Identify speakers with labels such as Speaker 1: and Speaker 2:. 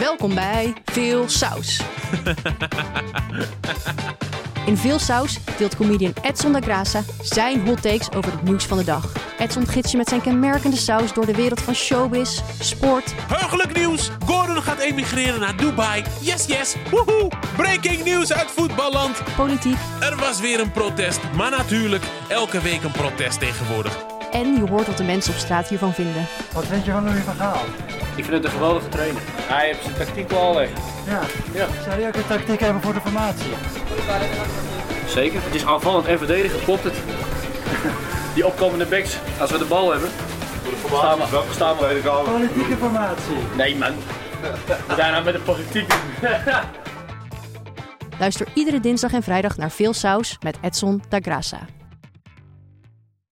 Speaker 1: Welkom bij Veel Saus. In Veel Saus deelt comedian Edson da Graça zijn hot takes over het nieuws van de dag. Edson gids je met zijn kenmerkende saus door de wereld van showbiz, sport
Speaker 2: Heugelijk nieuws. Gordon gaat emigreren naar Dubai. Yes, yes. Woehoe. Breaking nieuws uit voetballand.
Speaker 1: politiek
Speaker 2: Er was weer een protest. Maar natuurlijk, elke week een protest tegenwoordig.
Speaker 1: en je hoort wat de mensen op straat hiervan vinden.
Speaker 3: Wat vind je van Louis van Gaal?
Speaker 4: Ik vind het een geweldige trainer. Hij heeft zijn tactiek wel al echt.
Speaker 3: Ja.
Speaker 4: Ja.
Speaker 3: Zou je ook een tactiek hebben voor de formatie?
Speaker 4: Zeker. Het is aanvallend en verdedigend, klopt het. Die opkomende backs, als we de bal hebben, staan we, staan we.
Speaker 3: Politieke formatie.
Speaker 4: Nee man, we zijn nou met de politiek.
Speaker 1: Luister iedere dinsdag en vrijdag naar Veel Saus met Edson da Graça.